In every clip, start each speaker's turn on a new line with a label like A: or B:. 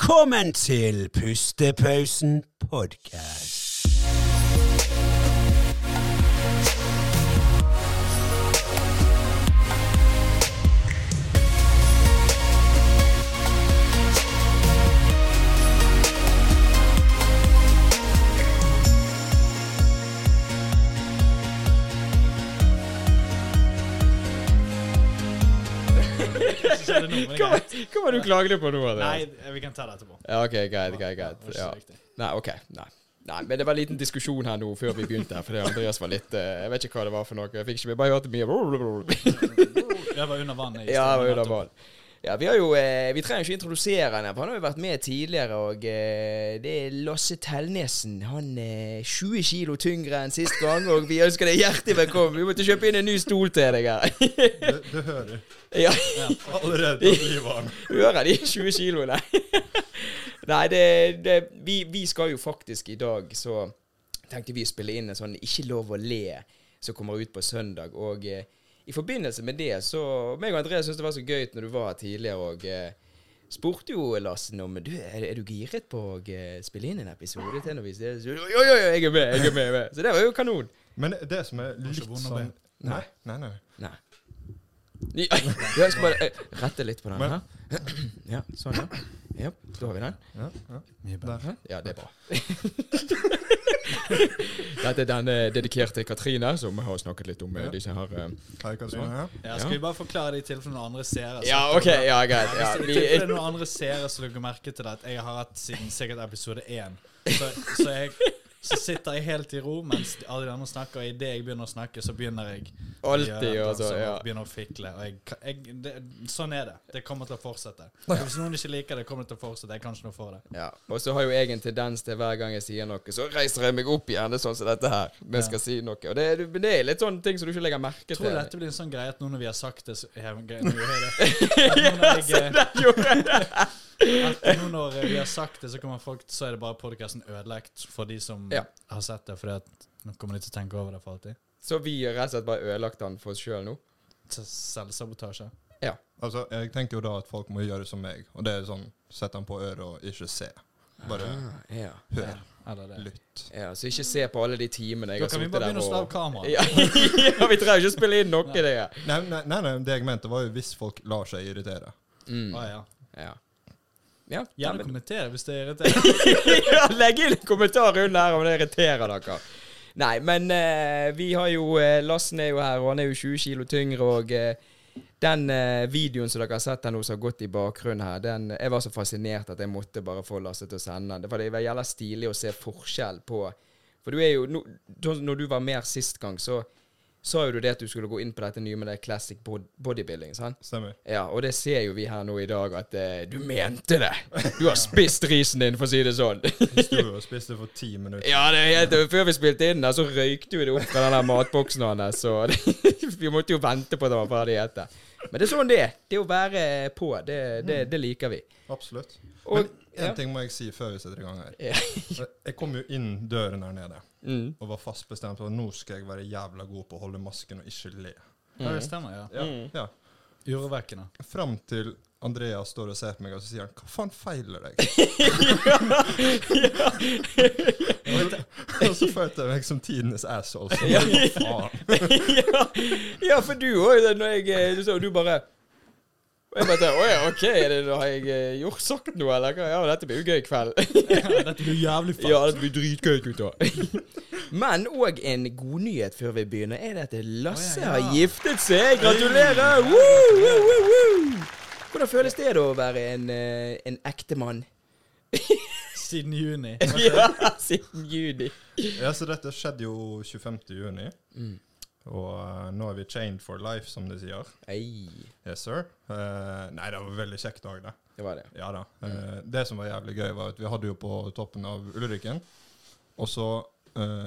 A: Velkommen til Pustepausen podcast.
B: skjedde noe, men det er
C: Hva var- hva var det du klagde på nå? Andreas?
B: greit. Nei, eh, vi kan ta det etterpå.
C: Ja, ok, greit, greit, greit.
B: Det var ikke så
C: Ja.
B: viktig.
C: Nei, ok. Nei. Nei, men det var en liten diskusjon her nå før vi begynte, her, fordi Andreas var litt eh, Jeg vet ikke hva det var for noe. Jeg fikk ikke med, bare hørte mye
B: Jeg var under vannet. i
C: Ja,
B: stedet,
C: det
B: nettopp.
C: var ja, vi, har jo, eh, vi trenger ikke introdusere henne, for han har jo vært med tidligere. Og eh, det er Lasse Tellnesen. Han er 20 kilo tyngre enn sist gang, og vi ønsker deg hjertelig velkommen. Vi måtte kjøpe inn en ny stol til deg her.
D: Du, du hører
C: Ja,
D: allerede at vi var med.
C: Hører de 20 kiloene? Nei, det, det vi, vi skal jo faktisk i dag, så tenkte vi å spille inn en sånn Ikke lov å le, som kommer ut på søndag. Og eh, i forbindelse med det, så meg og André syntes det var så gøy når du var her tidligere, og eh, spurte jo Lassen om du, er, er du giret på å eh, spille inn en episode til når vi ses? Jo, jo, jo, jeg er med! jeg er med, jeg er med. Så det var jo kanon.
D: Men det som er litt
B: ikke vond å
D: sånn Nei, nei, nei.
C: Nei. Ja, Jeg skal bare eh, rette litt på den
D: Men-
C: her. Ja, sånn, ja. Ja, da har vi den.
D: Ja, ja.
B: Mye bedre.
D: Der.
C: Ja, det er bra. Dette er den eh, dedikert til Katrine, som har snakket litt om eh,
D: Ja.
C: disse her eh.
D: Hei, hva som er her?
B: Ja, skal vi bare forklare det i tilfelle noen andre ser oss?
C: Ja, OK. Ja, greit. Ja,
B: Hvis det er
C: vi,
B: noen andre seere som legger merke til at jeg har hatt siden sikkert episode 1, så, så, jeg, så sitter jeg helt i ro mens de- alle de andre snakker, og idet jeg begynner å snakke, så begynner jeg å gjøre
C: alltid,
B: et eller annet
C: altså.
B: som
C: Ja.
B: begynner å fikle. Og jeg, kan- jeg, det, sånn er det. Det kommer til å fortsette. Og hvis noen ikke liker det, kommer det til å fortsette. Jeg kan ikke noe for det.
C: Ja, og så har jo jeg en tendens til hver gang jeg sier noe, så reiser jeg meg opp igjen. Det er sånn som dette her. Men skal si noe. Og det, er- men det er litt sånne ting som du ikke legger merke
B: Tror du
C: til.
B: dette blir en sånn greie at nå når vi har sagt det, så er det en greie- nå gjør jeg det. At nå når jeg, eh,
C: Jo, ja.
B: at nå når vi har sagt det, så kommer folk Så er det bare podkasten ødelagt for de som
C: Ja.
B: har sett det. Fordi at nå kommer de til å tenke over det for alltid.
C: Så vi har rett og slett bare ødelagt den for oss sjøl nå.
B: Så Selvsabotasje.
D: Altså, jeg tenker jo da at folk må gjøre som meg, og det er sånn Sett den på øret og ikke se. Bare
C: Ah, ja.
D: hør.
B: Eller det.
D: Lytt.
C: ja, Så ikke se på alle de timene jeg
B: Da
C: har
B: kan vi
C: sittet
B: bare
C: der
B: begynne å slå av
C: og
B: kameraet.
C: ja, ja, vi trenger ikke å spille inn noe, det. ja.
D: Nei, nei, nei, nei, det jeg mente, var jo hvis folk lar seg irritere.
C: Mm.
B: Å, ja.
C: Ja. Ja,
B: Gjerne
C: men-
B: kommentere hvis det irriterer.
C: ja, legg inn en kommentar under her om det irriterer dere. Nei, men eh, vi har jo eh, Lassen er jo her, og han er jo 20 kilo tyngre, og eh, den eh, videoen som dere har sett her nå, som har gått i bakgrunnen her, den Jeg var så fascinert at jeg måtte bare få Lasse til å sende den. For det var jævla stilig å se forskjell på For du er jo no, sånn som Når du var med her sist gang, så sa jo du det at du skulle gå inn på dette nye med det classic bod bodybuilding, sant?
D: Stemmer.
C: Ja, og det ser jo vi her nå i dag, at eh, du mente det! Du har spist risen din, for å si det sånn.
D: Vi sto jo og spiste for ti minutter.
C: Ja, det er helt Før vi spilte inn der, så røykte jo det opp fra den der matboksen hans, så vi måtte jo vente på at han var ferdig å ete. Men det er sånn det er. Det å være på, det, det, det liker vi.
D: Absolutt.
C: Og-
D: Men
C: ja.
D: én ting må jeg si før vi setter i gang her.
C: Ja.
D: Jeg kom jo inn døren her nede
C: Mm.
D: og var fast bestemt på at nå skal jeg være jævla god på å holde masken og ikke le.
B: Ja, det stemmer, ja.
D: Ja, ja.
B: Urovekkende.
D: Fram til Andreas står og ser på meg, og så sier han 'hva faen feiler deg?' Og- og så følte jeg meg som tidenes asshole. Så
C: Ja.
D: bare, faen.
C: ja, ja, for du òg, når jeg eh, Du så du bare og jeg bare, Å ja, OK, er det, har jeg eh, gjort sagt noe, eller? hva? Ja, dette blir jo gøy i kveld.
B: Dette blir jævlig fett.
C: Ja, det blir dritgøy, gutta. Men òg en god nyhet før vi begynner, er det at
B: Å,
C: Lasse
B: ja, ja.
C: har giftet seg. Gratulerer! Woo, woo, woo, woo. Hvordan føles det da å være en, eh, en ekte mann?
B: Siden juni.
C: Ja, siden juni.
D: Ja, så dette skjedde jo 25. juni, og eh, nå er vi chained for life, som de sier.
C: Ei,
D: Yes, sir. Eh, nei, det var en veldig kjekk dag, det.
C: det var det.
D: Ja da. Eh, det som var jævlig gøy, var at vi hadde jo på toppen av Ulriken, og så eh,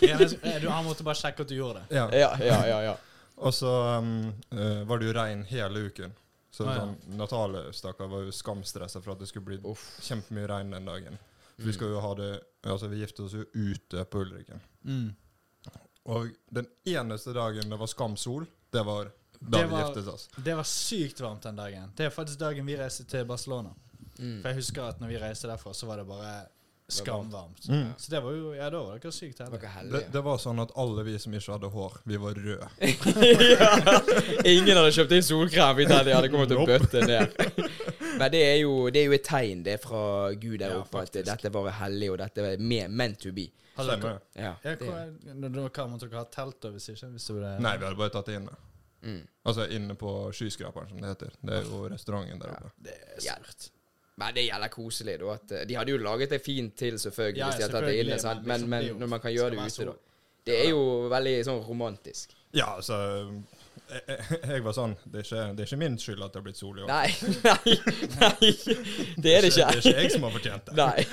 B: Ja, men, eh, Du han måtte bare sjekke at du gjorde det.
D: ja,
C: Ja, ja, ja. ja.
D: Og så um, eh, var det jo regn hele uken. Så
B: Ah, ja.
D: sånn, Natale stakkar var jo skamstressa for at det skulle bli kjempemye regn den dagen. For
B: Mm.
D: Vi skal jo ha det Altså vi giftet oss jo ute på Ulriken. Og den eneste dagen det var skamsol, det var Da
B: Det
D: vi
B: var-
D: giftet oss.
B: Det var sykt varmt den dagen. Det er faktisk dagen vi reiste til Barcelona.
C: Mm.
B: For jeg husker at når vi reiste derfra, så var det bare skamvarmt.
D: Mm.
B: Så det var jo Ja, da var dere sykt heldige.
C: Dere er
D: Det,
C: heldige.
D: det var sånn at alle vi som ikke hadde hår, vi var røde.
C: ja. Ingen hadde kjøpt inn solkrem hvis de hadde kommet til å bøtte ned. Men det er, jo, det er jo et tegn, det er fra Gud der
B: Ja,
C: oppe, at dette var hellig, og dette er me- meant to be.
B: Hadde dere
D: Stemmer.
C: Ja,
B: ja,
C: det,
B: hva, når dere kom, måtte dere ha telt over, hvis ikke? Hvis det ble,
D: Nei, vi hadde bare tatt det inne.
C: mm.
D: Altså inne på skyskraperen, som det heter. Det er jo restauranten der
C: Ja.
D: oppe.
B: Det er
C: Ja.
B: surt.
C: Men det gjelder koselig, da. At, eh, de hadde jo laget det fint til, selvfølgelig,
B: Ja,
C: hvis de hadde tatt det inne,
B: selvfølgelig,
C: sant?
B: men liksom,
C: Men, men
B: det er jo-
C: når man kan gjøre det
B: skal være
C: ute, da. Det er jo veldig sånn romantisk.
D: Ja, altså jeg, jeg, jeg var sånn det er, ikke, det er ikke min skyld at det har blitt sol i år.
C: Nei, nei, nei. Det er det ikke.
D: Det er ikke jeg som har fortjent det.
C: Nei.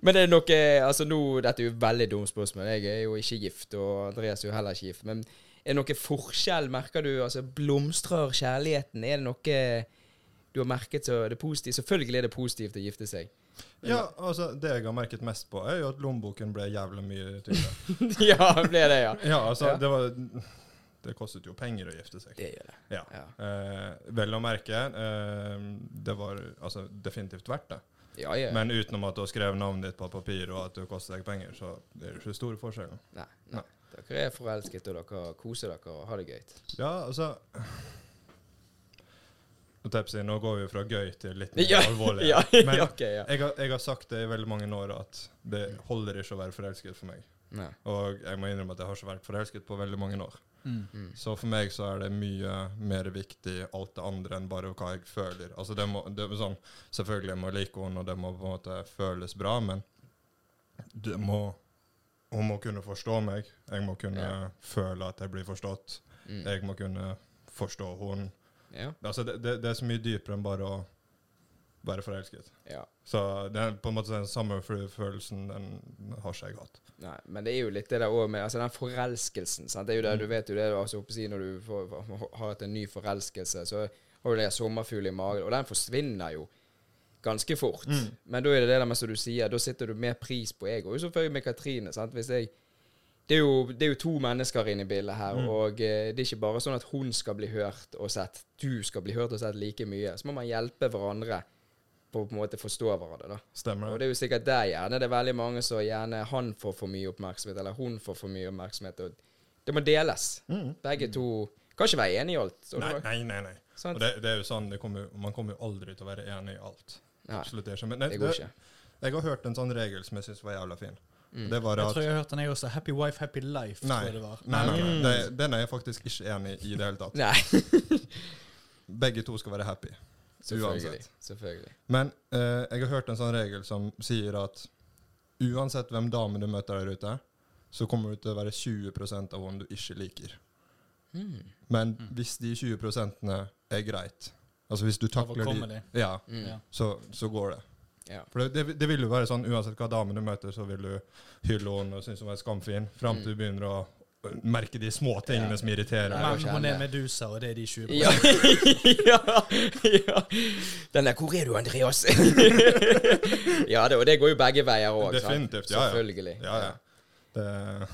C: Men er det noe Altså, nå Dette er jo et veldig dumt spørsmål. Jeg er jo ikke gift, og Andreas er jo heller ikke gift. Men er det noe forskjell, merker du? Altså, blomstrer kjærligheten? Er det noe øh, du har merket så er det positivt? Selvfølgelig er det positivt å gifte seg.
D: Ja, altså Det jeg har merket mest på, er jo at lommeboken ble jævlig mye tyngre.
C: ja, ble det, ja.
D: Ja, altså,
C: Ja.
D: det var Det kostet jo penger å gifte seg.
C: Det gjør det.
D: Ja.
C: Ja.
D: Eh, vel å merke, eh, det var altså definitivt verdt det.
C: Ja, ja.
D: Men utenom at du har skrevet navnet ditt på papir, og at du koster deg penger, så det er jo ikke store forskjellen.
C: nei, nei. Dere er forelsket, og dere koser dere og har det gøy.
D: Ja, altså Og Tepsi, nå går vi jo fra gøy til litt mer
C: Ja,
D: alvorlig.
C: ja,
D: Men
C: ja, ok, ja.
D: Jeg, har, jeg har sagt det i veldig mange år at det holder ikke å være forelsket for meg.
C: Nei.
D: Og jeg må innrømme at jeg har ikke vært forelsket på veldig mange år.
B: Mm.
C: Mm.
D: Så for meg så er det mye mer viktig alt det andre enn bare hva jeg føler. Altså det må, det er sånn, Selvfølgelig jeg må like henne, og det må på en måte føles bra, men det må, hun må kunne forstå meg. Jeg må kunne
C: Ja.
D: føle at jeg blir forstått.
C: Mm.
D: Jeg må kunne forstå henne.
C: Ja.
D: Altså det, det, det er så mye dypere enn bare å være forelsket.
C: ja.
D: Så det er på en måte den samme følelsen den har ikke jeg hatt.
C: Nei, men det er jo litt det der òg med altså den forelskelsen. sant? Det er jo det, Du vet jo det altså, oppe å si, når du får, har hatt en ny forelskelse, så har du det sommerfugl i magen, og den forsvinner jo ganske fort. Men da er det det der med som du sier, da sitter du mer pris på jeg og jo selvfølgelig med Katrine. sant? Hvis jeg, det, er jo, det er jo to mennesker inne i bildet her, og eh, det er ikke bare sånn at hun skal bli hørt og sett. Du skal bli hørt og sett like mye. Så må man hjelpe hverandre på en måte forstå hverandre. da.
D: Stemmer
C: Og
D: det?
C: det er jo sikkert der gjerne det er veldig mange som gjerne han får for mye oppmerksomhet, eller hun får for mye oppmerksomhet. Og det må deles. Begge to kan ikke være enige i alt. Så
D: Nei,
C: det var-
D: nei, nei. nei.
C: Sant?
D: Og det, det er jo sånn, det kommer, jo- man kommer jo aldri til å være enig i alt.
C: Nei,
D: Absolutt ikke. Men det,
C: det går
D: det,
C: ikke. Mm.
D: jeg har hørt en sånn regel som jeg syns var jævla fin. Det var
B: Jeg
D: at
B: tror jeg har hørt den, jeg også. Happy wife, happy life,
D: Nei,
B: tror jeg det var.
D: nei, nei,
B: ok.
D: det, den er jeg faktisk ikke enig i i det hele
C: Mm.
D: tatt.
C: Nei,
D: Begge to skal være happy.
C: selvfølgelig.
D: Uansett.
C: selvfølgelig.
D: Men eh, jeg har hørt en sånn regel som sier at uansett hvem dame du møter der ute, så kommer du til å være 20 av henne du ikke liker.
C: Mm,
D: Men hvis de 20 er greit, altså hvis du takler de,
B: Overkommelig.
D: ja,
C: Mm.
B: Ja.
D: så, så går det.
C: Ja.
D: For det, det, det vil jo være sånn uansett hva dame du møter, så vil du hylle henne og synes hun er skamfin, fram
C: Mm.
D: til du begynner å øh, merke de små tingene som irriterer
C: Nei.
D: deg.
B: Men hun er
C: kjenne.
B: Medusa, og det er de 20
C: Ja. ja. ja. Den der 'Hvor er du, Andreas?' ja, det, og det går jo begge veier òg.
D: Definitivt, ja, ja.
C: Selvfølgelig.
D: Ja, ja. Det er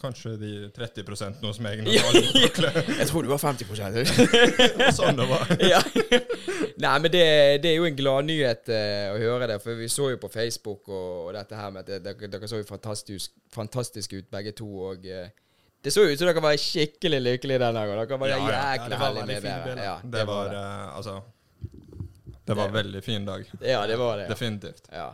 D: kanskje de 30 nå som jeg
C: Ja.
D: normalt takler.
C: Jeg tror du har 50
D: sånn det var.
C: ja. Nei, men det, det er jo en gladnyhet uh, å høre det, for vi så jo på Facebook og, og dette her med at det- dere, dere så jo fantastisk, fantastisk ut begge to, og eh, det så jo ut som dere var skikkelig lykkelige den gangen. Dere var
D: Ja, ja. Ja,
C: jækla
B: det var veldig
C: heldige med
B: fine
C: dere.
B: bilder.
C: Ja,
D: Det var eh, altså Det var en veldig fin dag.
C: Ja, det var det.
D: Definitivt.
C: Ja. ja.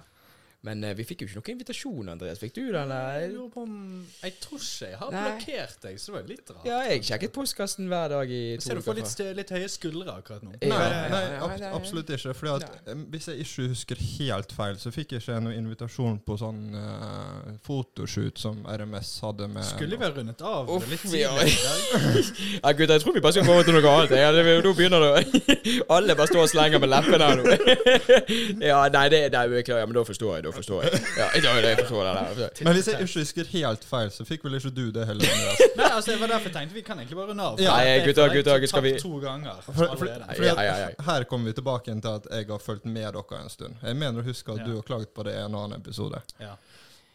C: Men eh, vi fikk jo ikke noen invitasjon, Andreas. Fikk du den?
B: Jeg
C: eller?
B: lurer på om Jeg tror ikke jeg har
C: Nei.
B: blokkert deg, så det var litt rart.
C: Ja, jeg sjekket postkassen hver dag i to
B: Ser du får litt,
C: fra.
B: stø- litt høye skuldre akkurat nå. Eh,
C: Ja.
D: Nei,
C: Ja,
D: nei
C: ja,
D: ab
C: ja, ja.
D: absolutt ikke. Fordi at em, Hvis jeg ikke husker helt feil, så fikk jeg ikke noen invitasjon på sånn eh, fotoshoot som RMS hadde med
B: Skulle vi ha rundet av
C: Uff,
B: litt
C: vi
B: tidligere
C: har-
B: i dag?
C: Ja, gutter, jeg tror vi bare skal komme til noe annet. Ja, det, nå begynner det å- Alle bare står og slenger med leppene her nå. Ja, nei, det nei, beklager, men da forstår jeg. Da forstår jeg. Ja, ja, jeg forstår det der.
D: Men hvis jeg ikke husker helt feil, så fikk vel ikke du det heller? Andreas?
B: Nei, altså, det var derfor jeg tenkte vi kan egentlig bare runde av. for
C: Ja.
B: jeg-
C: Nei,
B: jeg
C: gutter,
B: føler jeg
C: gutter,
B: har
C: skal vi-
B: tapt to ganger
D: For, for,
B: allerede.
D: fordi at
C: Ai, ai, ai.
D: her kommer vi tilbake igjen til at jeg har fulgt med dere en stund. Jeg mener å huske at
B: Ja.
D: du har klaget på det i en annen episode.
B: Ja.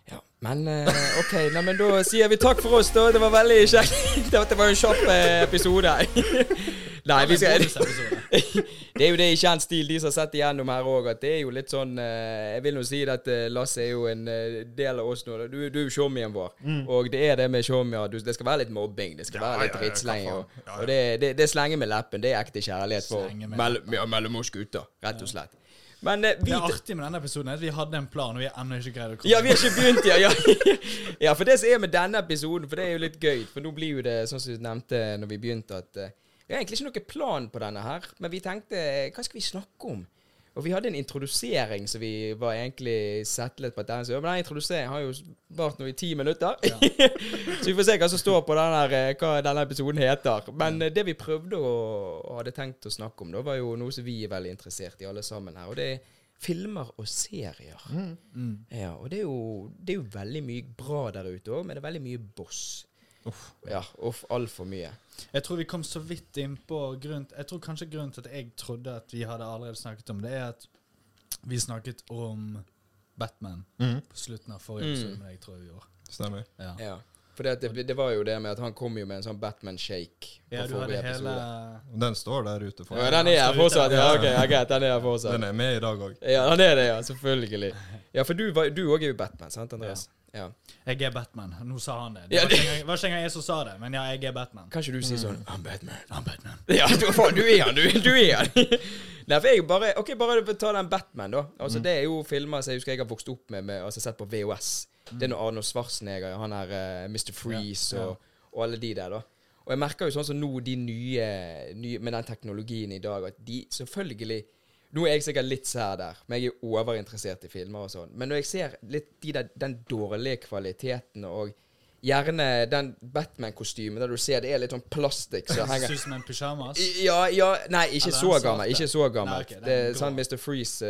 C: Ja, men eh, OK, nei, men da sier vi takk for oss, da. Det var veldig kjekt. Det var- Det var jo en kjapp eh, episode. Nei, vi skal
B: Bonusepisode.
C: Det er jo det i kjent stil, de som har sett igjennom her òg, at det er jo litt sånn eh, Jeg vil jo si det at eh, Lasse er jo en eh, del av oss nå. Du, du er jo showmien vår, og det er det med showmia. du- Det skal være litt mobbing, det skal
D: Mm. Ja,
C: være litt
D: ja, ja,
C: drittslenging.
D: hva faen.
C: Og, og det, det, det er slenge med leppen. Det er ekte kjærlighet for
B: Slenge med
C: mellom- ja, mellom oss gutter, rett og slett. Men eh, vi
B: Det
D: altså,
B: artige med denne episoden er at vi hadde en plan, og vi har ennå ikke greid å komme
C: ja, vi har ikke begynt, ja, ja. Ja, for det som er med denne episoden, for det er jo litt gøy, for nå blir jo det, sånn som du nevnte når vi begynte, at eh, det er egentlig ikke noe plan på denne her, men vi tenkte, eh, hva skal vi snakke om? Og vi hadde en introdusering som vi var egentlig settlet på at den, så, ja, men den introduseringen har jo vært nå i ti minutter. så vi får se hva som står på den her, eh, hva denne episoden heter. Men eh, det vi prøvde å, og hadde tenkt å snakke om, da var jo noe som vi er veldig interessert i alle sammen her, og det er filmer og serier. Ja, og det er, jo, det er jo veldig mye bra der ute òg, men det er veldig mye boss. Ja, uff, altfor mye.
B: Jeg tror vi kom så vidt innpå grunn, Jeg tror kanskje grunnen til at jeg trodde at vi hadde allerede snakket om det, er at vi snakket om Batman
D: Mhm.
B: på slutten av forrige episode, men jeg tror vi gjorde.
D: Stemmer.
B: Ja.
C: Mm. Ja. For det, det var jo det med at han kom jo med en sånn Batman-shake på
B: ja, du hadde
C: forrige
B: hele
C: episode.
D: Og Den står der ute for
C: Ja, den er her fortsatt. Ja, ok, ja, greit, den er her
D: Den
C: fortsatt.
D: er med i dag òg.
C: Ja, den er det, ja. Selvfølgelig. Ja, for du var- du òg er jo Batman, sant, Andreas? Ja.
B: Jeg er Batman. Nå sa han det. Det
C: Ja,
B: var
C: det-
B: ikke engang- var ikke engang jeg som sa det, men ja, jeg er Batman.
C: Kan ikke du si sånn
B: I'm Batman. I'm Batman.
C: Ja, du, faen, du er han, du, du er han. Nei, for jeg bare Ok, bare ta den Batman, da. Altså,
B: Mm.
C: Det er jo filmer som jeg husker jeg har vokst opp med, med altså sett på VHS. Det er når Arnold Schwarzenegger, han er eh, Mr. Freeze
B: Mm. Ja, ja.
C: Og, og alle de der, da. Og jeg merker jo sånn som nå, de nye, nye med den teknologien i dag, at de selvfølgelig Nå er jeg sikkert litt sær der, men jeg er jo overinteressert i filmer og sånn. Men når jeg ser litt de der, den dårlige kvaliteten og gjerne den Batman-kostymen der du ser det er litt sånn plastikk som henger
B: Ser ut som en pyjamas.
C: i- Ja, ja Nei, ikke
B: Eller
C: så
B: en svarte.
C: gammel. Ikke så gammel.
B: Nei, ok, den
C: det er
B: grå.
C: sånn Mr.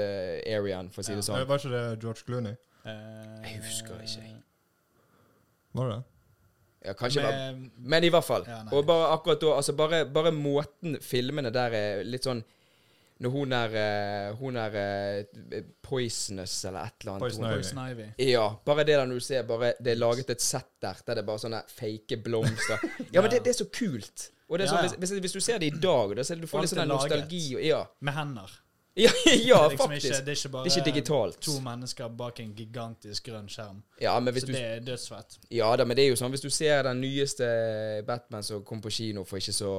C: Freeze-areaen, for å si det sånn.
D: Eh, Var ikke det George Clooney?
B: Jeg
C: Jeg husker ikke, jeg.
D: Var det det?
C: Ja, kanskje bare
B: Med,
C: Men i hvert fall.
B: Ja, nei.
C: og bare akkurat da altså bare, bare måten filmene der er litt sånn Når hun er eh, Hun er eh, poisonous eller et eller annet.
D: Poison
C: Hun-
D: Ivy.
B: Poison Ivy.
C: Ja. Bare det der når du ser bare Det er laget et sett der der det er bare sånne fake blomster. Ja, men det, det er så kult. Og det
B: Ja,
C: er sånn,
B: ja.
C: hvis, hvis, hvis du ser det i dag, da, så du får
B: Alt
C: litt sånn
B: er
C: der
B: laget.
C: nostalgi og Ja,
B: Med hender.
C: ja,
B: Det
C: ja
B: er liksom
C: faktisk.
B: Ikke, det er ikke bare
C: Det er ikke digitalt.
B: to mennesker bak en gigantisk grønn skjerm.
C: Ja, men hvis
B: Så
C: du
B: det er dødsfett.
C: Ja da, men det er jo sånn hvis du ser den nyeste Batman som kom på kino for ikke så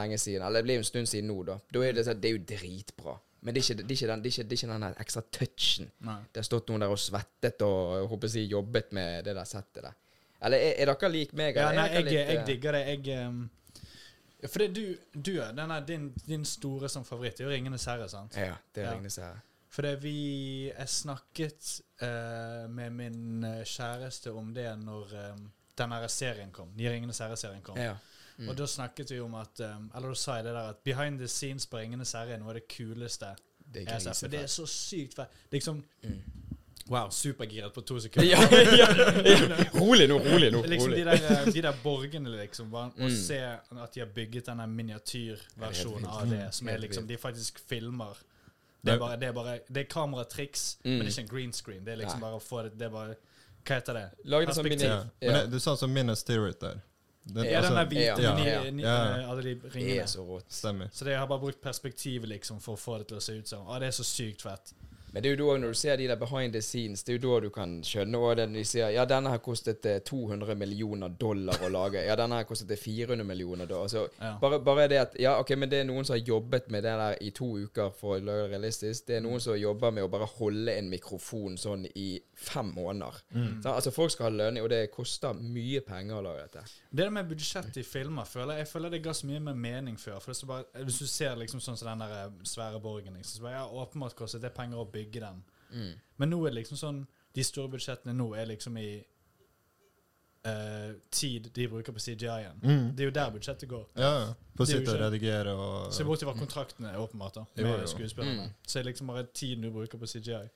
C: lenge siden, eller det blir jo en stund siden nå, da. Da er det sånn, det er jo dritbra. Men det er ikke, det er ikke, den, det er ikke, det er ikke den der ekstra touchen.
B: Nei.
C: Det har stått noen der og svettet og jeg håper å si, jobbet med det der settet der. Eller er, er dere lik meg?
B: Ja,
C: eller
B: nei,
C: er
B: jeg,
C: dere
B: jeg
C: litt, eh,
B: digger det. Jeg um, ja, For det du, du er den er din, din store som favoritt. Det er jo 'Ringenes herre', sant?
C: Ja, det
B: Ja.
C: regnes her.
B: For det vi Jeg snakket eh, med min eh, kjæreste om det når um, den her serien kom. De 'Ringenes herre'-serien kom.
C: Ja. Mm.
B: Og da snakket vi om at um, Eller da sa jeg det der at behind the scenes på 'Ringenes herre' er noe av det kuleste
C: Det
B: jeg har sett. For det er
C: grisefett.
B: så sykt fett. Liksom
C: Mm.
B: Wow, supergiret på to sekunder.
C: Ja, ja, ja. Rolig nå, rolig nå.
B: Liksom de
C: Rolig.
B: der, de der borgene, liksom. Bare,
C: Mm.
B: Å se at de har bygget denne miniatyrversjonen
C: Ja, det er helt
B: av det. Som
C: Helt
B: er liksom,
C: vilt.
B: de faktisk filmer. Det
D: Det-
B: er bare, det er bare det er kameratriks,
C: Mm.
B: men det er ikke en green screen. Det er liksom
C: Nei.
B: bare å få det, det er bare Hva heter det?
C: Lag det som mini...
B: Perspektiv.
D: Ja.
C: Ja.
D: Men det, du sa som Minnes Tirith der. Den, altså,
B: Ja, den der hvite
C: altså, ja,
B: med ni-
C: ja.
B: ni-
D: Ja.
B: eh, alle de
C: Det er
B: ringene.
C: så rått.
D: Stemmer.
B: Så de har bare brukt perspektivet liksom for å få det til å se ut som. Å, det er så sykt fett.
C: Men det er jo da når du ser de der behind the scenes, det er jo da du kan skjønne og den de sier ja, denne her kostet eh, 200 millioner dollar å lage. Ja, denne her kostet eh, 400 millioner dollar. Altså,
B: Ja.
C: bare, bare det at ja, ok, men det er noen som har jobbet med det der i to uker for å lage det realistisk. Det er noen som jobber med å bare holde en mikrofon sånn i fem måneder. Så, altså, folk skal ha lønning, og det koster mye penger å lage dette.
B: Det der med budsjett i filmer føler jeg, jeg føler det ga så mye mer mening før. For det er så bare, Hvis du ser liksom sånn som den der eh, svære borgen, liksom, så bare, ja, åpenbart kostet det penger å bygge den.
C: Mm.
B: Men nå er det liksom sånn De store budsjettene nå er liksom i eh, tid de bruker på CGI-en. Det er jo der budsjettet går.
D: Ja, ja. På å
B: Det er jo
D: sitte og
B: ikke-
D: redigere og
B: Se bort fra kontraktene, åpenbart, da,
D: Jo,
B: med
D: jo.
C: Mm.
B: skuespillerne. Så det er liksom bare tiden du bruker på CGI.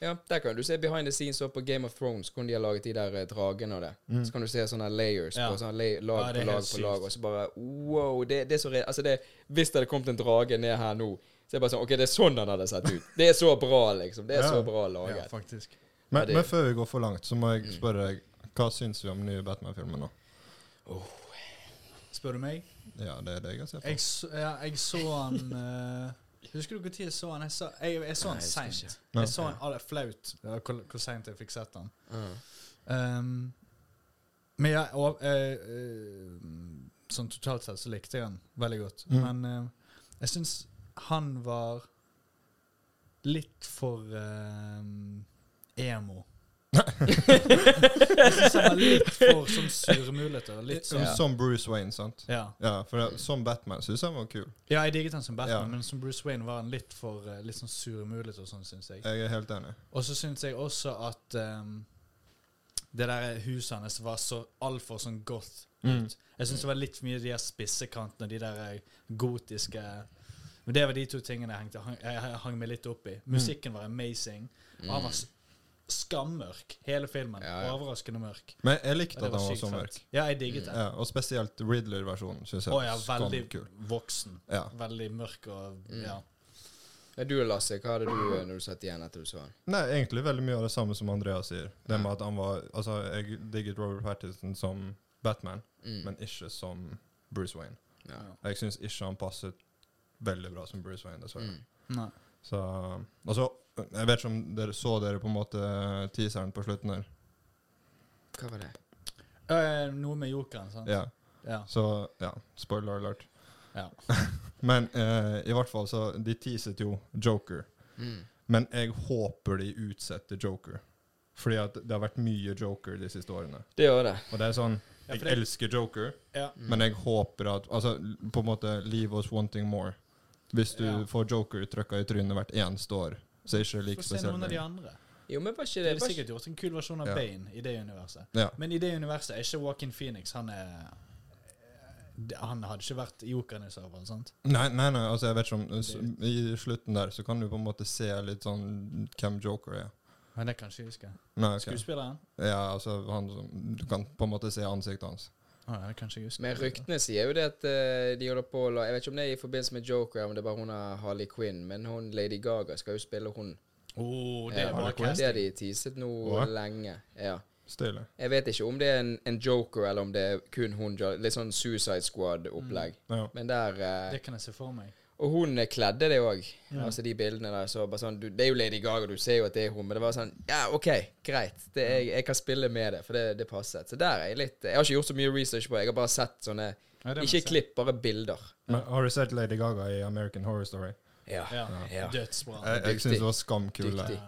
C: Ja, der kan du se behind the scenes også på Game of Thrones, hvordan de har laget de der eh, dragene og det. Så kan du se sånne layers
B: Ja.
C: på sånne lay, lag
B: Ja, det er
C: på lag
B: helt
C: på
B: sykt.
C: lag, og så bare wow, det, det er så re Altså, det, hvis det hadde kommet en drage ned her nå, så er det bare sånn OK, det er sånn den hadde sett ut. Det er så bra, liksom. Det er
D: Ja.
C: så bra
B: Ja,
C: laget.
B: faktisk.
D: Men,
C: Ja, det-
D: men før vi går
B: Mm.
D: for langt, så må jeg spørre deg, hva syns vi om den nye Batman-filmen nå?
B: Spør du meg?
D: Ja, det er det jeg har sett på.
B: Jeg så, ja, jeg så han eh, Husker du når jeg så han? Jeg, så- jeg, jeg så han
C: Nei, jeg husker
B: seint.
D: ikke.
B: Jeg så han ah, det er flaut ja, hvor, hvor seint jeg fikk sett han.
C: Mm.
B: Ehm, men ja, og, eh, eh, sånn totalt sett så likte jeg han veldig godt.
D: Mm.
B: Men eh, jeg syns han var litt for eh, emo. jeg syns han var litt for sånn surmulete. og Litt
D: Som,
B: sånn
D: som Bruce Wayne, sant?
B: ja.
D: Ja, for det, som Batman syns jeg var kul.
B: ja, jeg digget han som Batman,
D: Ja.
B: men som Bruce Wayne var han litt for eh, litt sånn surmulete og sånn, syns jeg.
D: Jeg er helt enig.
B: Og så syns jeg også at ehm, det der huset hans var så altfor sånn goth.
D: Mm.
B: Jeg syns det var litt for mye de der spissekantene, de der eh, gotiske Men det var de to tingene jeg hengte, hang, jeg hang meg litt
D: Mm.
B: opp i. Musikken var amazing.
C: Mm.
B: Og han var s- skammørk hele filmen.
C: Ja, ja.
B: Overraskende mørk.
D: Men jeg likte
B: Og
D: at han var
B: sykt
D: så
B: fett.
D: mørk. Mm.
B: Ja, jeg digget det.
D: Ja, og spesielt Riddler-versjonen syns jeg
B: Å ja,
D: var
B: veldig
D: skamkul.
B: voksen.
D: Ja.
B: Veldig mørk og ja.
C: Ja, Du Lasse, hva hadde du eh, når du satt igjen etter du så den?
D: Nei, egentlig veldig mye av det samme som Andreas sier. Det med at han var Altså, jeg digget Robert Pattinson som Batman,
C: Mm.
D: men ikke som Bruce Wayne.
C: ja.
D: Jeg syns ikke han passet veldig bra som Bruce Wayne, dessverre.
C: Mm.
B: Nei.
D: Så um, Og så Jeg vet ikke om dere så dere på en måte teaseren på slutten her.
C: Hva var det?
B: Eh, noe med jokeren, sant?
D: Ja.
B: Ja.
D: Så ja, spoiler alert.
B: ja.
D: Men eh, i hvert fall så De teaset jo Joker.
C: Mm.
D: Men jeg håper de utsetter Joker. Fordi at det har vært mye Joker de siste årene.
C: Det gjør det.
D: Og det er sånn
B: Ja,
D: Jeg
B: for det- Mm.
D: elsker Joker,
B: ja.
C: Mm.
D: men jeg håper at Altså, l- på en måte Leave us wanting more. Hvis du
B: Ja.
D: får Joker trykka i trynet hvert eneste år, så er ikke det
B: Få
D: like
B: se
D: spesielt.
B: noen av de
D: lenger.
B: andre.
C: Jo, men var ikke
B: Det
C: det
B: er
C: var
B: sikkert gjort en kul versjon av
D: Ja.
B: Bane i det universet.
D: Ja.
B: Men i det universet er ikke Joaquin Phoenix Han er det- Han hadde ikke vært jokeren i serveren, sant?
D: Nei, nei, nei, altså jeg vet ikke om s- I slutten der så kan du på en måte se litt sånn hvem Joker er.
B: Men det kan ikke jeg huske.
D: Nei, ok.
B: Skuespilleren?
D: Ja, altså han som Du kan på en måte se ansiktet hans.
B: Å, ja, det kan ikke jeg huske.
C: Men ryktene sier jo det at eh, de holder på å la Jeg vet ikke om det er i forbindelse med Joker, om det er bare hun er Harley Quinn, men hun Lady Gaga skal jo spille hun.
B: Å, Oh, det
C: Eh,
B: er bra
D: Harley Quinn.
C: Det
B: casting.
C: har de teaset nå
D: Hva?
C: lenge. Ja.
D: Stilig.
C: Jeg vet ikke om det er en, en Joker, eller om det er kun hun. Jo- Litt sånn Suicide Squad-opplegg.
B: Mm.
D: Ja.
C: Men der eh,
B: Det kan jeg se for meg.
C: Og hun eh, kledde det òg. Altså de bildene der. Så bare sånn, du, det er jo Lady Gaga, du ser jo at det er hun. Men det var sånn Ja, OK, greit. Det, jeg, jeg kan spille med det, for det, det passet. Så der er jeg litt Jeg har ikke gjort så mye research på det. Jeg har bare sett sånne
B: Ja, det må
C: Ikke
B: jeg se.
C: klipp, bare bilder.
D: Men har du sett Lady Gaga i American Horror Story?
C: Ja.
B: Ja.
C: Ja.
B: Dødsbra.
D: Jeg, jeg syns det var skamkul.
C: Dyktig.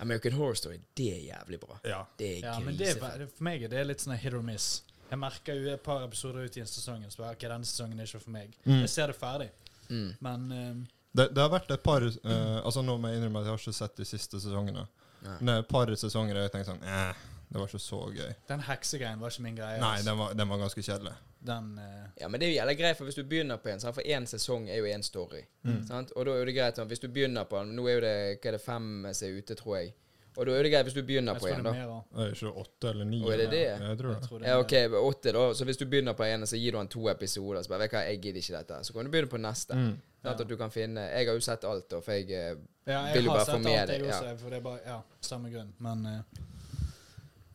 C: American Horror Story, det er jævlig bra.
D: Ja.
C: Det er
B: Ja, men det er,
C: grisefett.
B: ve- for meg er det litt sånn hit or miss. Jeg merker jo et par episoder ut i en sesong så bare, ok, denne sesongen er ikke for meg. Jeg ser det ferdig.
C: Mm.
B: Men eh,
D: Det, det har vært et par eh, Altså Nå må jeg innrømme at jeg har ikke sett de siste sesongene.
C: Nei.
D: Men det er et par sesonger jeg tenkte sånn eh, Det var ikke så gøy.
B: den heksegreien var ikke min greie.
D: Nei,
B: altså.
D: den var, den var ganske kjedelig.
B: Den, eh,
C: Ja, men det er jo jævlig greit, for hvis du begynner på en, sant? for én sesong er jo én story. Sant? Og da er jo det greit, sånn, hvis du begynner på en Nå er jo det hva er det fem som er ute, tror jeg. Og da er det greit hvis du begynner
B: jeg
C: på
B: tror
C: en,
B: det er
C: da.
B: mer av.
D: Det er ikke åtte eller ni.
C: Å, er det det?
D: Ja, Jeg tror
B: Jeg
D: det.
B: tror det er-
C: Ja, OK, åtte, da. Så hvis du begynner på en, så gir du han to episoder. Så bare, vet du hva, jeg gidder ikke dette. Så kan du begynne på neste.
D: Mm.
C: Sånn at du kan finne Jeg har jo sett alt, da, for jeg eh,
B: Ja, jeg
C: Vil du
B: har
C: bare
B: sett
C: få med
B: alt,
C: deg,
B: jeg
C: ja.
B: også, for det er bare, ja, samme grunn. Men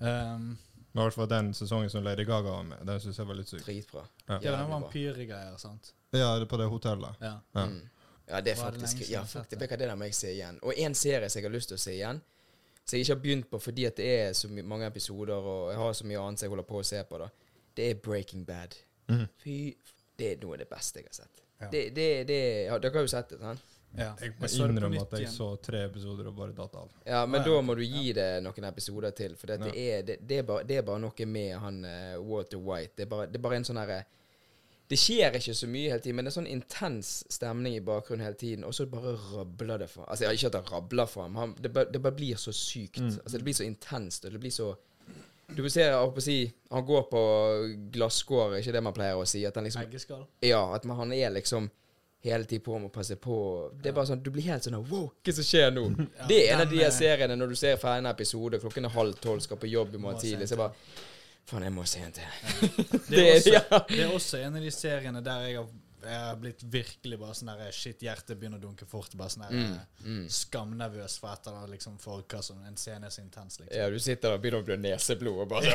B: eh, um,
D: Men i hvert fall den sesongen som Lady Gaga var med, den syns jeg var litt syk.
C: Dritbra.
B: Det
D: Ja.
B: var den
C: Jævlig bra.
B: vampyrgreier, sant?
D: Ja, det er på det hotellet.
B: Ja.
D: Ja.
C: Mm. Ja, det er
B: Hva er det lenge
C: faktisk
B: siden
C: Ja,
B: jeg har
C: fuck,
B: sett
C: det
B: det?
C: vet jeg, det der må jeg se igjen. Og en serie som jeg har lyst til å se igjen, som jeg ikke har begynt på fordi at det er så my mange episoder, og jeg har så mye annet som jeg holder på å se på, da, det er Breaking Bad.
D: Mhm.
C: Fy f- Det er noe av det beste jeg har sett.
B: Ja.
C: Det, det, det ja, Dere har jo sett det, sant?
B: ja.
D: Jeg må
B: Jeg så det på
D: innrømme
B: nytt
D: at jeg
B: igjen.
D: så tre episoder og bare datt av.
C: Ja, men
B: Ja,
C: da må du gi det noen episoder til, for det, det, er, det, det, er bare, det er bare noe med han eh, Walter White. Det er bare, det er bare en sånn herre Det skjer ikke så mye hele tiden, men det er sånn intens stemning i bakgrunnen hele tiden, og så bare rabler det for Altså, ja, ikke at det rabler for ham, han, det, bare, det bare blir så sykt.
B: Mm.
C: Altså, det blir så intenst, og det blir så Du vil se, jeg holdt på å si, han går på glasskår, ikke det man pleier å si, at han liksom
B: Eggeskall.
C: ja, at man, han er liksom hele tiden på med å passe på. Det er bare sånn, Du blir helt sånn Wow, hva som skjer nå? det er en av de
B: den,
C: her
B: eh,
C: seriene når du ser ferdig en episode, klokken er halv tolv, skal på jobb i morgen
B: Må se en
C: tidlig, så bare Faen, jeg må se en til.
B: Det er,
C: Det er-
B: også, det er også en av de seriene der jeg har jeg har blitt virkelig bare sånn der Shit, hjertet begynner å dunke fort. Bare sånn der
C: Mm,
B: eh, skamnervøs for et eller annet, liksom, for hva som En scene er så intens, liksom.
C: Ja, du sitter der og begynner å blø neseblod og bare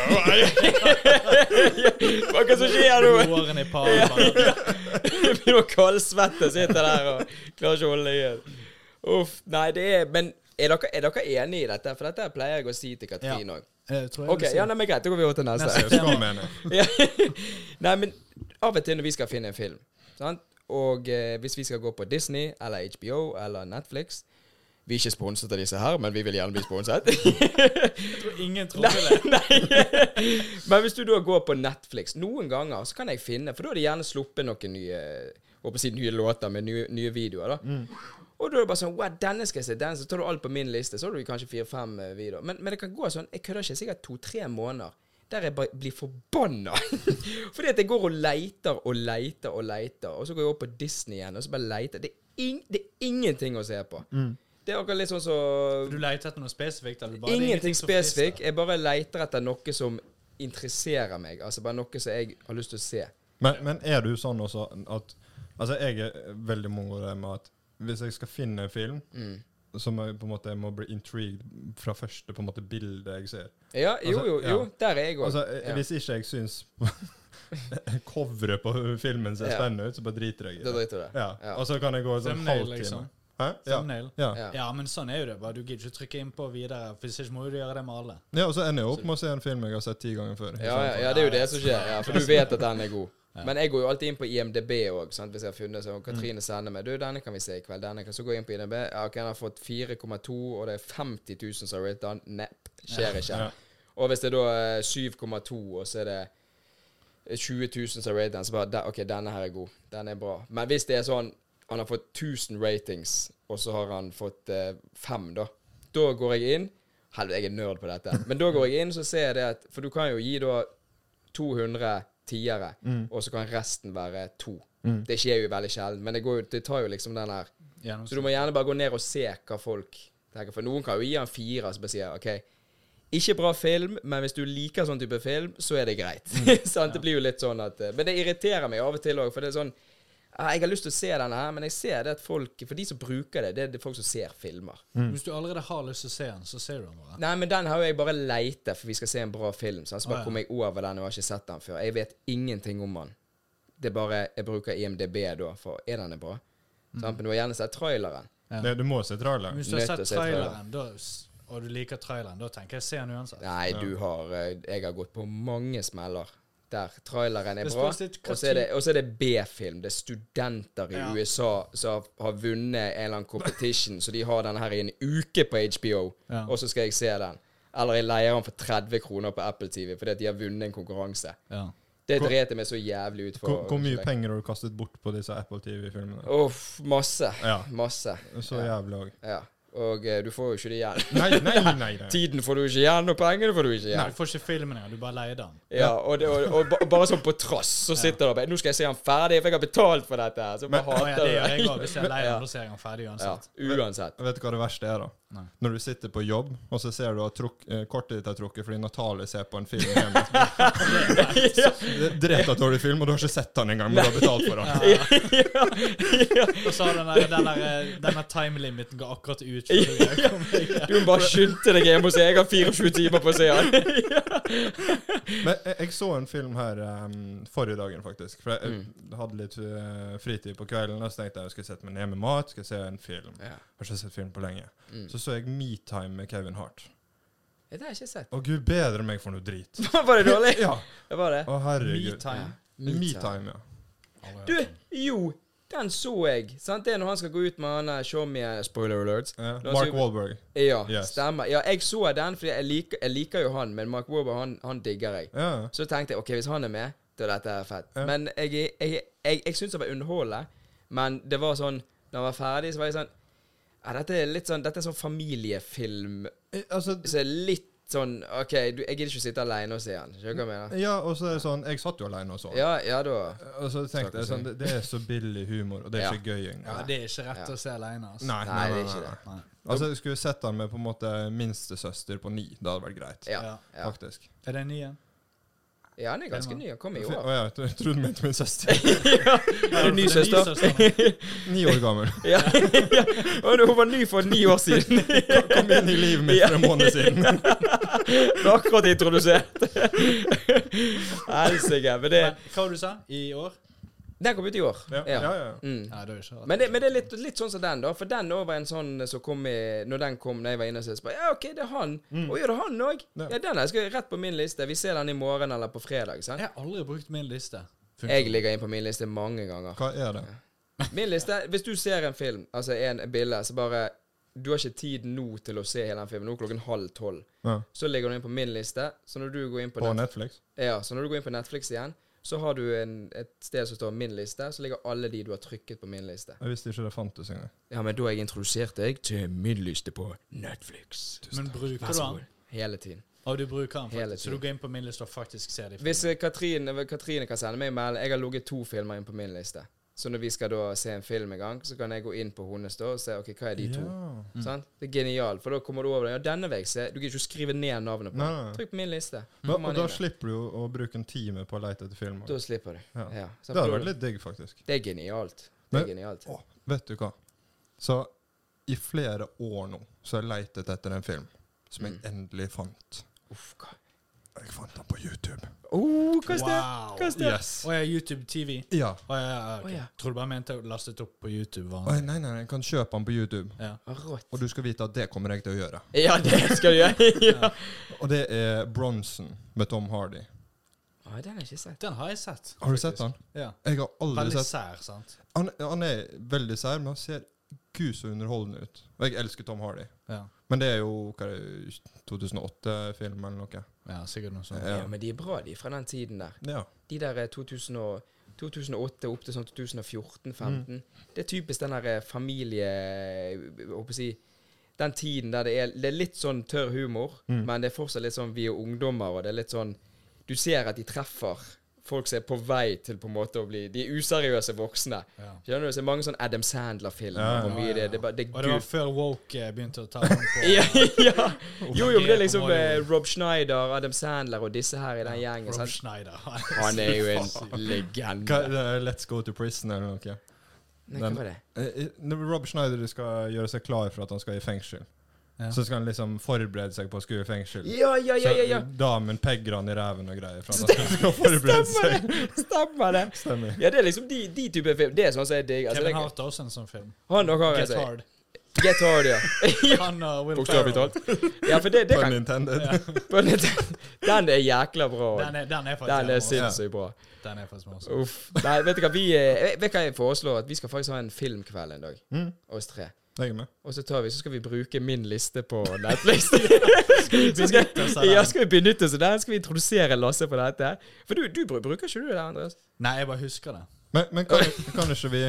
C: sånn Hva er det som skjer nå?
B: Hårene i paren bare
C: Jeg Begynner å kaldsvette, sitter der og klarer ikke å holde deg igjen. Uff. Nei, det er Men er dere, er dere enige i dette? For dette pleier jeg å si til Katrin
B: Ja.
C: òg.
B: Eh, tror jeg
C: OK,
B: vil si.
C: ja, nei, men greit. Da går vi over til neste.
B: Neste.
D: Skam, mener jeg.
C: Ja. Nei, men av og til når vi skal finne en film, sant? og eh, hvis vi skal gå på Disney eller HBO eller Netflix Vi er ikke sponset av disse her, men vi vil gjerne bli sponset.
B: Jeg tror ingen
C: Nei,
B: trodde det.
C: nei. Men hvis du da går på Netflix noen ganger, så kan jeg finne For da har de gjerne sluppet noen nye håper å si nye låter med nye, nye videoer. da Og da er det bare sånn Wow, denne skal jeg se, den. Så tar du alt på min liste. Så har du kanskje fire-fem eh, videoer. Men, men det kan gå sånn Jeg kødder ikke. Sikkert to-tre måneder. Der jeg bare blir forbanna. Fordi at jeg går og leiter og leiter og leiter. Og så går jeg opp på Disney igjen og så bare leiter. Det er, ing, det er ingenting å se på. Det er akkurat litt sånn som
B: Du leter etter noe spesifikt? Eller bare, det er
C: Ingenting
B: som frister.
C: spesifikk. Jeg bare leter etter noe som interesserer meg. Altså bare noe som jeg har lyst til å se.
D: Men, men er du sånn også at Altså, jeg er veldig mongo der med at hvis jeg skal finne en film,
C: Mm.
D: så må jeg på en måte jeg må bli intrigued fra første på en måte bilde jeg ser.
C: Ja, jo,
D: Altså,
C: jo, jo.
D: ja.
C: Der er jeg òg.
D: Altså, eh, Hvis ikke jeg syns coveret på filmen ser
C: Ja.
D: spennende ut, så bare driter jeg i
C: Da
D: det.
C: driter du i det.
D: Ja.
C: Ja.
D: Og så kan jeg gå en sånn
B: Thumbnail,
D: halvtime.
B: liksom.
D: Hæ? Ja.
B: Thumbnail.
D: Ja.
C: Ja.
B: Ja, men sånn er jo det. bare Du gidder ikke trykke innpå videre, for hvis ikke må jo du gjøre det med alle.
D: ja, og så ender jeg opp med å se en film jeg har sett ti ganger før.
C: Ja, ja, ja, det er jo det som skjer. Ja, for du vet at den er god. Men jeg går jo alltid inn på IMDb òg, hvis jeg har funnet sånn. Katrine sender meg 'Du, denne kan vi se i kveld.' denne kan Så går jeg inn på IMDb. Ja, ok, Den har fått 4,2, og det er 50 000 som har ratet den. Nepp. Skjer ikke.
D: Ja.
C: Og hvis det da er 7,2, og så er det 20 000 som har ratet den, så bare "Der- 'OK, denne her er god. Den er bra.' Men hvis det er sånn han har fått 1000 ratings, og så har han fått eh, fem, da. Da går jeg inn Helvete, jeg er nerd på dette. Men da går jeg inn, så ser jeg det at For du kan jo gi da 200 tiere, og så kan resten være to. Det skjer jo veldig sjelden, men det, går, jo- det tar jo liksom den her Så du må gjerne bare gå ned og se hva folk tenker. For noen kan jo gi han fire, så bare sier OK, ikke bra film, men hvis du liker sånn type film, så er det greit.
B: Mm.
C: Sant? Det blir jo litt sånn at eh, Men det irriterer meg av og til òg, for det er sånn ah, Jeg har lyst til å se denne her, men jeg ser det at folk For de som bruker det, det er det folk som ser filmer.
B: Hvis du allerede har lyst til å se den, så ser du den bare.
C: Nei, men den har jo jeg bare leita, for vi skal se en bra film. sant? Så
B: Å,
C: bare
B: ja.
C: kom jeg over den, og jeg har ikke sett den før. Jeg vet ingenting om den. Det er bare Jeg bruker IMDb da, for er den bra?
B: Mm.
C: Sant? Men du har gjerne sett traileren.
D: Det, du må se
B: Men
D: traileren.
B: Hvis du har
C: Nødt til å
B: sett
C: se traileren.
B: traileren, da, s- og du liker traileren, da tenker jeg se den uansett.
C: Nei, du har eh, Jeg har gått på mange smeller. Der traileren er
B: Det
C: bra,
B: spørs litt hva
C: og så er det,
B: typ-
C: og så er det B-film. Det er studenter i
B: Ja.
C: USA som har- har vunnet en eller annen competition, så de har den her i en uke på HBO,
B: Ja.
C: og så skal jeg se den. Eller jeg leier den for 30 kroner på Apple TV fordi at de har vunnet en konkurranse.
B: Ja.
C: Det dret jeg meg så jævlig ut for.
D: Hvor, hvor mye penger har du kastet bort på disse Apple TV-filmene?
C: Uff, masse.
D: Ja.
C: Masse.
D: Så jævlig òg.
C: Ja. Og eh, du får jo ikke det igjen.
D: Nei, nei, nei. nei.
C: Tiden får du ikke igjen, og pengene får du ikke igjen.
B: Du får ikke filmen engang, du bare leier den.
C: Ja, og, det, og, og, ba- og bare sånn på trass, så sitter du bare Nå skal jeg se han ferdig, for jeg har betalt for dette! her Så bare
B: Å, ja,
C: hater
B: det
C: du
B: gjør jeg
C: det.
B: også. Hvis jeg leier
C: Ja.
B: den, da ser jeg den ferdig
C: Ja,
B: uansett.
C: uansett.
D: Vet du hva det verste er, da?
B: Nei.
D: Når du sitter på jobb, og så ser du at truk- eh, kortet ditt er trukket fordi Natalie ser på en film hjemme.
C: Ja,
D: Det er Drept av dårlig film, og du har ikke sett den engang, men du har betalt for den.
B: Og så har den der, den der, eh, denne timelimiten går akkurat ut. før du er kommet i gang.
C: Du må bare skynde deg hjem og se. Jeg har 24 timer på å se han.
D: Men jeg, jeg så en film her em, forrige dagen, faktisk. For
C: Mm.
D: jeg, jeg hadde litt eh, fritid på kvelden, og så tenkte jeg jeg skal sette meg ned med mat, skal se en film.
C: Ja.
D: Har ikke sett film på lenge.
C: Mm.
D: Så så jeg Metime med Kevin Hart.
C: Det har jeg ikke sett.
D: Å gud bedre meg for noe drit.
C: Var det dårlig?
D: Ja.
C: Det var det.
D: Å herregud.
B: Metime.
D: Metime, ja.
C: Du, jo! Den så jeg. Sant? Det er når han skal gå ut med han eh, der showmien Spoiler alert.
D: Ja,
C: La oss
D: Eh, Mark
C: si-
D: Wahlberg.
C: Ja,
D: Yes.
C: stemmer. Ja, jeg så den, for jeg liker, jeg liker jo han, men Mark Warber, han, han digger jeg.
D: Ja.
C: Så tenkte jeg ok, hvis han er med, da er dette fett. Men jeg, jeg, jeg, jeg, jeg syns det var underholdende. Men det var sånn Når han var ferdig, så var jeg sånn ja, Dette er litt sånn Dette er sånn familiefilm.
D: Eh, Altså,
C: Så er litt sånn OK, du, jeg gidder ikke å sitte aleine og se han. Skjønner du hva jeg mener?
D: ja, og så er det sånn Jeg satt jo alene og så.
C: Ja, ja da.
D: Og så tenkte jeg sånn Det, det er så billig humor, og det er
C: Ja.
D: ikke gøy engang.
B: Ja, det er ikke rett å se alene. Altså.
D: Nei,
C: Nei, det er ikke det.
B: Nei.
D: Altså, jeg skulle sett han med på en måte minstesøster på ni. Det hadde vært greit.
C: Ja.
B: Ja.
C: ja.
D: Faktisk.
B: Er det en ny en?
C: Ja, han er ganske ny. Han kom i
D: Å
C: år.
D: ja, jeg tro- jeg trodde du mente min søster.
C: Er det ny søster?
D: Ni år gammel.
C: Ja, ja. Og hun var ny for ni år siden.
D: Kom inn i livet mitt for en måned siden.
C: Ble akkurat introdusert. Helsike. Men det
B: Men, hva var det du sa? I år?
C: Den kom ut i år.
D: Ja, ja, ja.
C: Mm.
B: Nei, det er jo ikke
C: Men det, men det er litt, litt sånn som den, da. For den også var en sånn som kom i Når den kom da jeg var inne og så, så bare, Ja, OK, det er han. Og gjør det han òg?
D: Mm. Ja.
C: Ja. den her skal rett på min liste. Vi ser den i morgen eller på fredag. sant?
B: Jeg har aldri brukt min liste.
C: Jeg ligger inn på min liste mange ganger.
D: Hva er det?
C: Min liste Hvis du ser en film, altså en bilde, så bare Du har ikke tid nå til å se hele den filmen. Nå er klokken halv tolv.
D: Ja.
C: Så ligger den inn på min liste. Så når du går inn på,
D: På
C: Netflix-
D: Netflix?
C: ja, så når du går inn på Netflix igjen, så har du en, et sted som står 'min liste', så ligger alle de du har trykket på min liste.
D: Jeg visste ikke det fantes engang.
C: Ja, men da har jeg introdusert deg til min liste på Netflix.
B: Men bruker
C: Vær
B: du
C: så
B: den?
C: god. Hele tiden.
B: Og du bruker den,
C: Hele
B: faktisk. Så
C: tiden.
B: du går inn på min liste og faktisk ser dem.
C: Hvis eh, Katrine, Katrine kan sende meg en melding Jeg har ligget to filmer inn på min liste. Så når vi skal da se en film en gang, så kan jeg gå inn på hennes da og se ok, hva er de to. Sant? Det er genialt, for da kommer du over det. Ja, denne vei, se. Du kan ikke skrive ned navnet på
D: Nei,
C: den.
D: nei, nei.
C: Trykk på min liste.
D: Men,
C: Kommer
D: og
C: den
D: da
C: inn der.
D: slipper du jo å bruke en time på å leite etter film.
C: Da slipper du.
D: Ja.
C: Ja. sant,
D: Det
C: for
D: hadde
C: da-
D: vært litt digg, faktisk.
C: det er genialt. Det
D: Men-
C: er genialt.
D: Å, vet du hva? Så i flere år nå så har jeg leitet etter en film som jeg
C: Mm.
D: endelig fant.
C: Uff, hva
D: Jeg fant den på YouTube.
C: oh, hva er det?
B: Wow.
C: Hva er det?
D: Yes.
B: Å ja, YouTube TV.
D: Ja.
B: Å ja, ja, ok.
C: Å ja.
B: Tror du bare mente å laste det opp på YouTube. Var
D: Oi,
B: han.
D: nei, nei, jeg kan kjøpe den på YouTube.
B: Ja.
C: Ah, Rått.
D: Og du skal vite at det kommer jeg til å gjøre.
C: Ja, det skal du gjøre. ja.
D: Og det er Bronson med Tom Hardy.
C: Ah, den har jeg ikke sett.
B: Den har jeg sett.
D: Har du sett den?
B: Ja.
D: Jeg har aldri
B: Veldig
D: sett
B: sær, sant?
D: han, han er veldig sær, men han ser gud så underholdende ut. Og jeg elsker Tom Hardy.
B: Ja.
D: Men det er jo 2008-film eller noe.
B: ja, sikkert noe sånt.
D: Ja.
C: Ja. men de er bra, de, fra den tiden der.
D: Ja.
C: De der eh, 2000 og, 2008 opp til sånn 2014-15.
D: Mm.
C: Det er typisk den der eh, familie... eh, Jeg håper å si Den tiden der det er, det er litt sånn tørr humor,
D: Mm.
C: men det er fortsatt litt sånn vi er ungdommer, og det er litt sånn Du ser at de treffer folk som er på vei til på en måte å bli De useriøse voksne.
B: Ja.
C: Skjønner du? Så det er mange sånne Adam Sandler-filmer.
D: Ja, ja,
C: hvor mye Det, er. det, er bare- det
B: Og
C: er
B: det var
C: gud.
B: før Woke eh, begynte å ta den på.
C: Ja, ja. Jo, jo, men det er liksom
B: Tangerer på
C: eh, Rob Schneider, Adam Sandler og disse her i den gjengen.
B: Rob
C: sant?
B: Schneider.
C: Han er jo en legende.
D: Hva, det er Let's Go to Prison eller noe.
C: Nei, hva
D: den-
C: var det?
D: Eh, eh, når Rob Schneider skal gjøre seg klar for at han skal i fengsel.
B: Ja.
D: Så skal han liksom forberede seg på å skulle i fengsel.
C: Ja, ja, ja, ja, ja.
D: Så damen pegger han i ræven og greier. For at han skal forberede seg.
C: Stemmer det.
D: Stemmer.
C: Ja, det er liksom de, de typer film. Det er sånn som jeg digger. Altså,
B: Kevin
C: det,
B: Hart har også en sånn film.
C: han og han,
B: Get
C: altså.
B: Hard.
C: Get hard, ja.
B: Han og Will
C: Bokstavelig
B: Ferrell.
C: talt. Ja, for det, det
D: Pun
C: kan
D: intended.
C: Den er jækla bra.
B: Den er, den er faktisk
C: Den
B: bra.
C: er sinnssykt bra.
B: Den er faktisk morsom.
C: Uff. Nei, vet du hva vi eh, Vet du hva jeg foreslår? At vi skal faktisk ha en filmkveld en dag,
D: Mm.
C: oss tre.
D: Jeg er med.
C: Og så tar vi, så skal vi bruke min liste på Netflix. Så
B: benytte oss av
C: skal,
B: den?
C: ja, skal vi benytte oss av den? Skal vi introdusere Lasse på dette? For du, du bru- bruker ikke du det, Andreas?
B: Nei, jeg bare husker det.
D: Men, men kan, kan ikke vi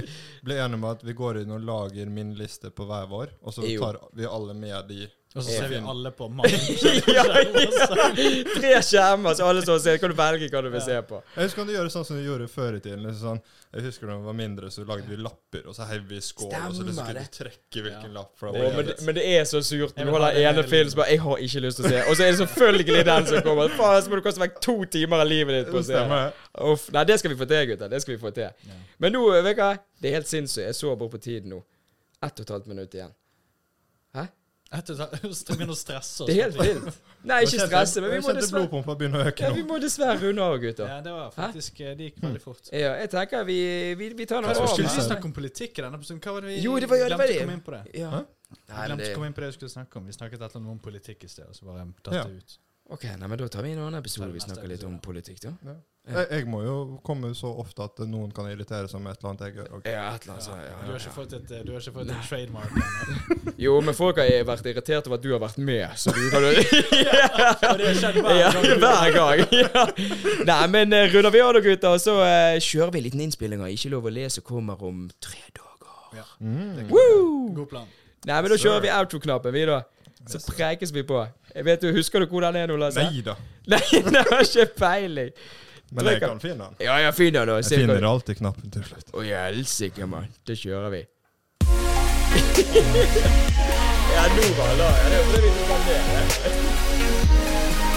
D: bli enige om at vi går inn og lager min liste på hver vår, og så
C: Jo.
D: tar vi alle med de
B: Og så
C: Ja.
B: ser vi alle på mange.
C: ja, ja. Tre skjermer, så alle står og ser. Kan du velge hva du vil se på?
D: Jeg husker du gjøre sånn som du gjorde før i tiden. Liksom sånn, jeg husker da vi var mindre, så lagde vi lapper, og så heiv vi i skål, og så liksom
C: Stemmer
D: skulle
C: det.
D: du trekke hvilken lapp. For
C: Å, men, det- men det er så surt når
B: Jeg
C: du
B: vil
C: holder
B: ha det
C: ene
B: hele
C: film som bare 'Jeg har ikke lyst til å se', og så er det selvfølgelig den som kommer. Faen, så må du kaste vekk to timer av livet ditt på å se den.
D: Stemmer det.
C: Uff, nei, det skal vi få til, gutter. Det skal vi få til. Men nå, eh, vet du hva? Det er helt sinnssykt. Jeg så bare på tiden nå. Ett og et halvt minutt igjen. Hæ?
B: Etter det begynner å stresse oss.
C: Det er helt vilt. Nei, ikke stresse, men vi må
D: Jeg kjente
C: dessverre,
D: blodpumpa begynne å øke
C: ja,
D: nå.
C: vi må dessverre runde av, gutter.
B: Ja, det var faktisk eh, Det gikk veldig fort.
C: Ja, jeg tenker vi, vi, vi tar noe av.
D: Hva skulle
B: Skulle vi
D: vi
B: snakke om politikk i denne episoden? Hva var det vi
C: Jo, det var jo det.
B: glemte å komme inn på det?
C: Ja. Nei, men
B: glemte
C: det,
B: å komme inn på det vi skulle snakke om. Vi snakket et eller annet om politikk i sted, og så bare datt
D: Ja.
B: det ut.
C: ok, nei, men da tar vi en annen episode. Vi
B: neste
C: snakker litt om politikk, da.
D: Jeg, jeg må jo komme så ofte at noen kan irritere seg med et eller annet jeg gjør. og-
C: Ja, et eller annet sånt.
B: Du har
C: Ja,
B: ikke
C: ja.
B: fått et, eh, du har ikke fått et trademark ennå.
C: Jo, men folk har vært irritert over at du har vært med, så du kan
B: Og det har skjedd hver
C: Ja,
B: gang.
C: hver gang. Ja. Nei, men eh, runder vi av da, gutter, og så eh, kjører vi en liten innspilling av Ikke lov å lese kommer om tre dager.
B: Ja.
C: Mm. Woo!
B: God plan.
C: Nei, men da kjører vi outro-knappen, vi, da. Så prekes vi på. Jeg vet du, Husker du hvor den er nå, Lasse?
D: Nei da.
C: Nei, det har ikke peiling.
D: Men jeg kan finne den.
C: Ja, jeg finner den. da,
D: Jeg
C: cirka-
D: finner alltid knappen til slutt.
C: Å, helsike, mann. Det kjører vi. ja, nå var det da. Ja, det er fordi vi tok den ned.